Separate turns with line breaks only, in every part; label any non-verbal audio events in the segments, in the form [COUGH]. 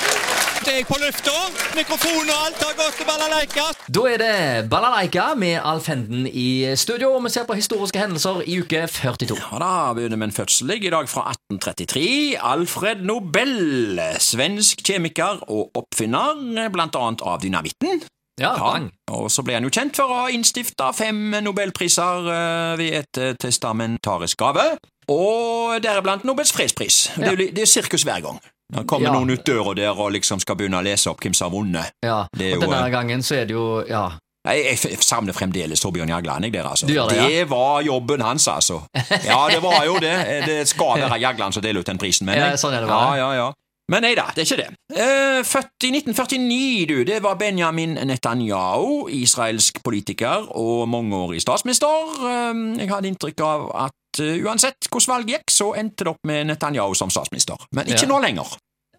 Først er jeg på lufta. Mikrofon og alt har gått til balalaika.
Da er det Balalaika med Alf Henden i studio, og vi ser på historiske hendelser i uke 42.
Ja da, begynner med en fødsel jeg, i dag fra 1833. Alfred Nobel, svensk kjemiker og oppfinner, blant annet av dynamitten.
Ja, bang.
Og så ble han jo kjent for å ha innstifta fem nobelpriser eh, ved et eh, testamentarisk gave, og deriblant Nobels fredspris. Det er, jo li- det er sirkus hver gang. Da kommer
Ja.
noen ut døra der og liksom skal begynne å lese opp hvem som har vunnet.
Ja,
Det er
og
jo eh,
denne
en-
gangen så er det jo Ja.
Nei, jeg, f- jeg savner fremdeles Torbjørn Jagland, jeg, der, altså.
Du gjør det, ja.
var jobben hans, altså. Ja, det var jo
[LAUGHS]
det. Det skal være Jagland som deler ut den prisen, men
Ja, sånn er det
ja,
bare.
ja, ja. Men nei da, det er ikke det. Eh, født i 1949, du. Det var Benjamin Netanyahu, israelsk politiker og mangeårig statsminister. Eh, jeg hadde inntrykk av at eh, uansett hvordan valget gikk, så endte det opp med Netanyahu som statsminister. Men ikke
Ja.
nå lenger.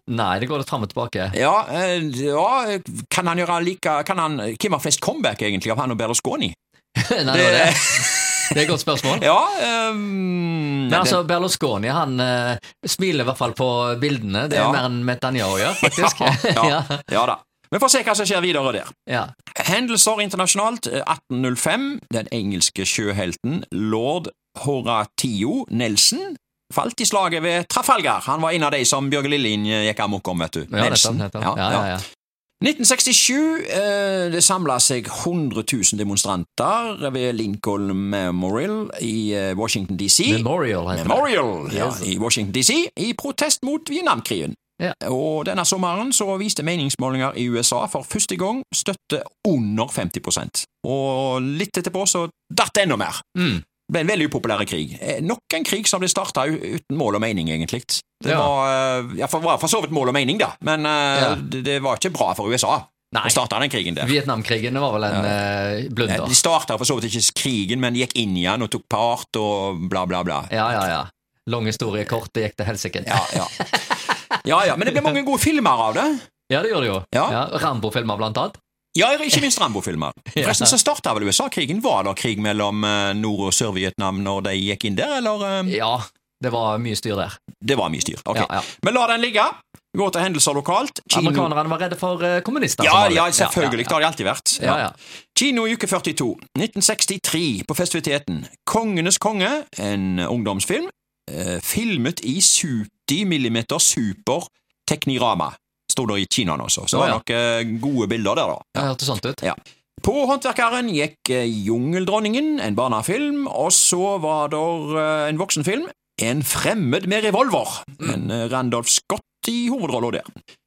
Nei, det går litt fram og
[LAUGHS]
tilbake.
Ja, eh, ja, kan han gjøre like kan han, Hvem har flest comeback, egentlig, av han og Berlusconi?
Nei, det, var det. det er et godt
[LAUGHS]
spørsmål.
Ja ehm,
Men altså, Berlusconi han eh, smiler i hvert fall på bildene. Det er
Ja.
mer enn Netanyahu gjør, faktisk.
[LAUGHS] ja, ja,
[LAUGHS] ja.
ja da. Vi får se hva som skjer videre der.
ja.
Hendelser internasjonalt. eh, 1805. Den engelske sjøhelten lord Horatio Nelson falt i slaget ved Trafalgar. Han var en av de som Bjørge Lillien gikk amok om, vet du.
Ja,
Nelson.
nettopp, nettopp. Ja, ja, ja.
1967 eh, det samla seg 100 000 demonstranter ved Lincoln Memorial i eh, Washington DC.
Memorial heter det.
Memorial ja,
Yes.
i Washington DC i protest mot Vietnamkrigen.
Ja.
Og denne sommeren så viste meningsmålinger i USA for første gang støtte under 50 Og litt etterpå så datt det enda mer.
Mm.
Det ble en veldig upopulær krig. Eh, Nok en krig som ble starta uten mål og mening, egentlig. Det
Ja.
var, eh, ja, for, var for så vidt mål og mening, da, men eh,
Ja.
det, det var ikke bra for USA
Nei.
å starte den krigen der.
Vietnamkrigen det var vel en eh,
Eh,
blunder.
De starta for så vidt ikke krigen, men de gikk inn igjen og tok part og bla, bla, bla.
Ja, ja, ja. Lang historie kort, det gikk til helsike. Ja.
Ja, ja. ja, ja, men det ble mange gode filmer av det.
det gjør det jo.
Ja.
Rambo-filmer, blant annet.
Ja, ikke minst
[LAUGHS]
Rambo-filmer. Forresten så starta vel USA-krigen. Var det krig mellom eh, Nord- og Sør-Vietnam når de gikk inn der, eller? eh,
Ja, det var mye styr der.
Det var mye styr. Ok.
Ja, ja.
Men la den ligge. Gå til hendelser lokalt. Kino
Amerikanerne var redde for eh, kommunister. som
ja,
vanlig.
ja, selvfølgelig. Det har de alltid vært.
Ja, ja.
Kino i uke 42, 1963, på festiviteten. Kongenes konge, en ungdomsfilm, eh, filmet i 70 mm super teknirama. Stod det i kinoen også. Så
Å,
det
ja.
var noen gode bilder der, da.
Det hørtes sånt ut.
Ja. På Håndverkeren gikk eh, Jungeldronningen, en barnefilm, og så var det en voksenfilm, En fremmed med revolver, en eh, Randolph Scott i hovedrollen der.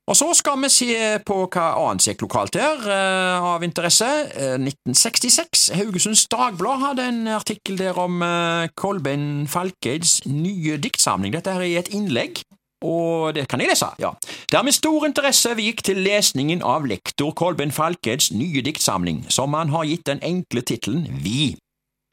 Og så skal vi se på hva annet som gikk lokalt her, eh, av interesse. Eh, 1966, Haugesunds Dagblad hadde en artikkel der om eh, Kolbein Falkeids nye diktsamling. Dette her er et innlegg. Og det kan jeg lese, ja. Det er med stor interesse vi gikk til lesningen av lektor Kolben Falkeds nye diktsamling, som han har gitt den enkle tittelen Vi.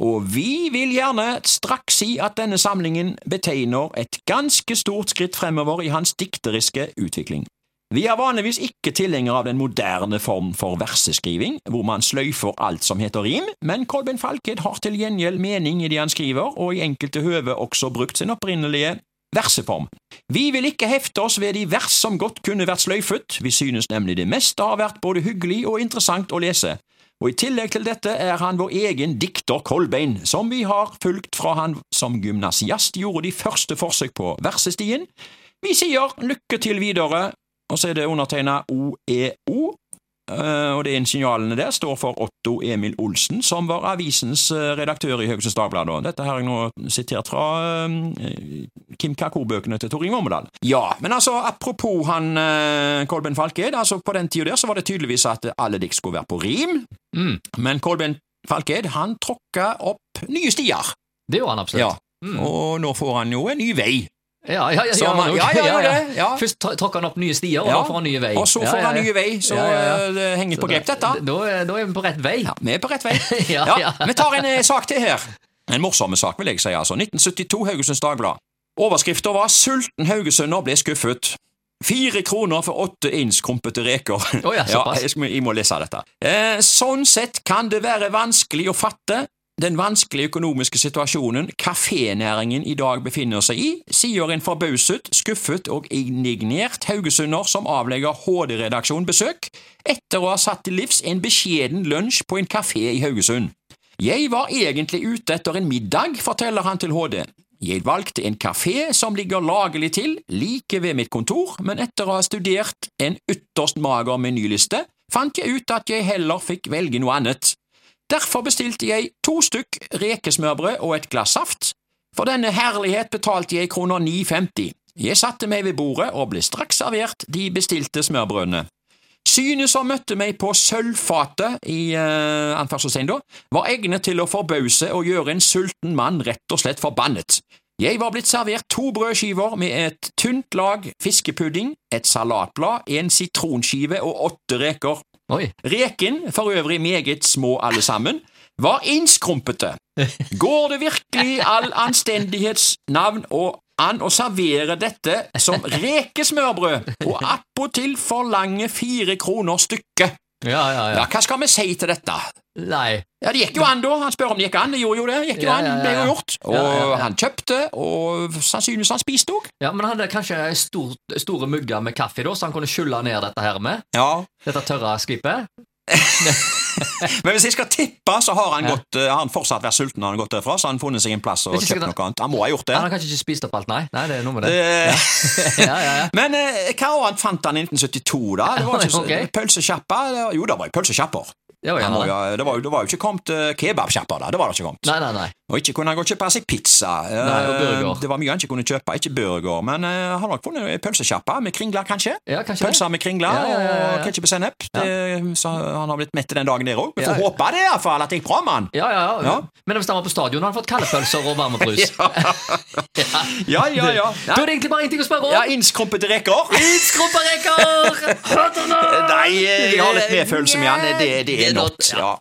Og vi vil gjerne straks si at denne samlingen betegner et ganske stort skritt fremover i hans dikteriske utvikling. Vi er vanligvis ikke tilhengere av den moderne form for verseskriving, hvor man sløyfer alt som heter rim, men Kolben Falked har til gjengjeld mening i det han skriver, og i enkelte høve også brukt sin opprinnelige verseform. Vi vil ikke hefte oss ved de vers som godt kunne vært sløyfet, vi synes nemlig det meste har vært både hyggelig og interessant å lese. Og i tillegg til dette er han vår egen dikter Kolbein, som vi har fulgt fra han som gymnasiast gjorde de første forsøk på versestien. Vi sier lykke til videre, og så er det undertegna OEO, eh, og det er initialene der står for Otto Emil Olsen, som var avisens eh, redaktør i Haugesunds Dagblad. da. Dette har jeg nå sitert fra eh, Kim Kakor-bøkene til Torin Vormedal. Ja, men altså, apropos han eh, Kolben Falked, altså på den tida der så var det tydeligvis at alle dikt skulle være på rim,
Mm.
men Kolben Falked, han tråkka opp nye stier.
Det gjorde han
Ja.
absolutt. Mm.
Og nå får han jo en ny vei.
Ja, ja, [LAUGHS] ja,
Så man-
nok.
ja, ja, det, ja.
Først tr- tråkker han opp nye stier, og
Ja.
da får han nye vei.
Og så får han nye vei, så
Ja, ja, ja.
eh, det henger på grep, dette.
Da, da er- da er vi på rett vei.
Ja, vi er på rett vei.
[LAUGHS] Ja, ja.
Vi tar en eh, sak til her. En morsom sak, vil jeg si. altså. 1972 Haugesunds Dagblad. Overskriften var 'Sulten haugesunder ble skuffet'. Fire kroner for åtte inns krumpete reker. [LAUGHS]
Å ja, såpass.
jeg, skal- jeg må lese dette. Eh, sånn sett kan det være vanskelig å fatte Den vanskelige økonomiske situasjonen kafénæringen i dag befinner seg i, sier en forbauset, skuffet og indignert haugesunder som avlegger HD-redaksjon besøk, etter å ha satt til livs en beskjeden lunsj på en kafé i Haugesund. Jeg var egentlig ute etter en middag, forteller han til HD. Jeg valgte en kafé som ligger lagelig til, like ved mitt kontor, men etter å ha studert en ytterst mager menyliste, fant jeg ut at jeg heller fikk velge noe annet. Derfor bestilte jeg to stykk rekesmørbrød og et glass saft. For denne herlighet betalte jeg kroner 9,50. Jeg satte meg ved bordet og ble straks servert de bestilte smørbrødene. Synet som møtte meg på sølvfatet, i eh, anførselstegn da, var egnet til å forbause og gjøre en sulten mann rett og slett forbannet. Jeg var blitt servert to brødskiver med et tynt lag fiskepudding, et salatblad, en sitronskive og åtte reker.
Oi.
Reken, for øvrig meget små alle sammen, var innskrumpete. Går det virkelig all anstendighetsnavn og an å servere dette som rekesmørbrød, og attpåtil forlange fire kroner stykket?
Ja, ja, ja.
Ja, hva skal vi si til dette?
Nei.
Ja, Det gikk jo an, da. Han spør om det gikk an. Det gjorde jo det. Gikk jo
Ja,
an,
ja, ja,
ble jo
ja.
gjort.
Ja, ja, ja.
Og han kjøpte, og sannsynligvis han spiste òg.
Ja, Men han hadde kanskje stor, store mugger med kaffe, da, så han kunne skylle ned dette her med?
Ja.
Dette tørre skvipet?
Men hvis jeg skal tippe, så har han,
Ja.
gått, eh, har han fortsatt vært sulten når han har gått derfra, så har han funnet seg en plass og
Hvis ikke
kjøpt
skal-
noe annet. Han må ha gjort det.
Han har kanskje ikke spist opp alt, nei? Nei, det er noe med
[LAUGHS]
det.
Eh,
Ja, ja, ja.
Men eh, hva annet fant han i 1972, da? Det var ikke så,
Ok.
Pølsesjappa? det var- Jo, det var jo pølsesjapper.
Ja, ja,
Han må
ja.
jo- Det var jo det var jo ikke kommet eh, kebabsjapper, da. Det var det ikke kommet.
Nei, nei, nei.
Og ikke kunne han gå og kjøpe seg pizza. Eh,
Nei, og burger.
Det var mye han ikke kunne kjøpe. Ikke burger, men eh, han har nok funnet ei pølsesjappe med kringler, kanskje.
Ja, kanskje det.
Pølser med kringler
Ja, ja, ja, ja, ja.
og ketsjup og sennep.
Ja.
Det- Så han har blitt mett den dagen der òg. Vi
Ja,
får
ja.
håpe det, iallfall, at det gikk bra med han.
Ja, ja, ja.
Ja.
Men hvis han var på stadion, hadde han fått kaldepølser og varmebrus. ja.
Ja, [LAUGHS] ja, ja.
Da er det egentlig bare én ting å spørre om.
Ja, Innskrumpete reker.
Skrumpereker!
[LAUGHS] Nei, eh, jeg har litt medfølelse med han. Det, det er
Det er
not.
not, ja.
Ja.